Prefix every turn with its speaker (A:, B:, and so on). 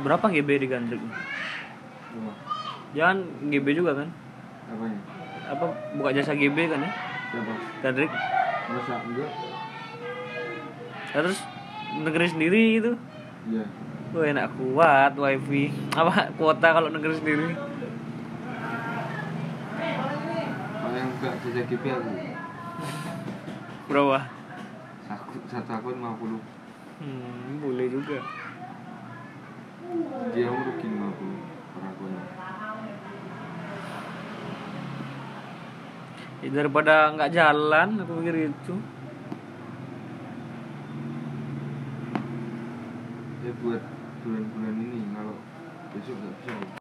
A: Berapa GB digandreng?
B: Rumah.
A: Jangan GB juga kan?
B: Apanya?
A: Apa buka jasa GB kan ya?
B: Siapa?
A: Gandreng.
B: Masa enggak?
A: Nah, terus negeri sendiri itu.
B: Iya.
A: Wah enak kuat wifi. Apa kuota kalau negeri sendiri?
B: Kalau yang enggak jasa GP aku.
A: Berapa?
B: Aku satu aku 50.
A: Hmm, boleh juga.
B: Dia rugi 50 per akunnya.
A: Ya, daripada nggak jalan, aku pikir itu.
B: Eh, Ya buat bulan-bulan ini kalau besok enggak bisa.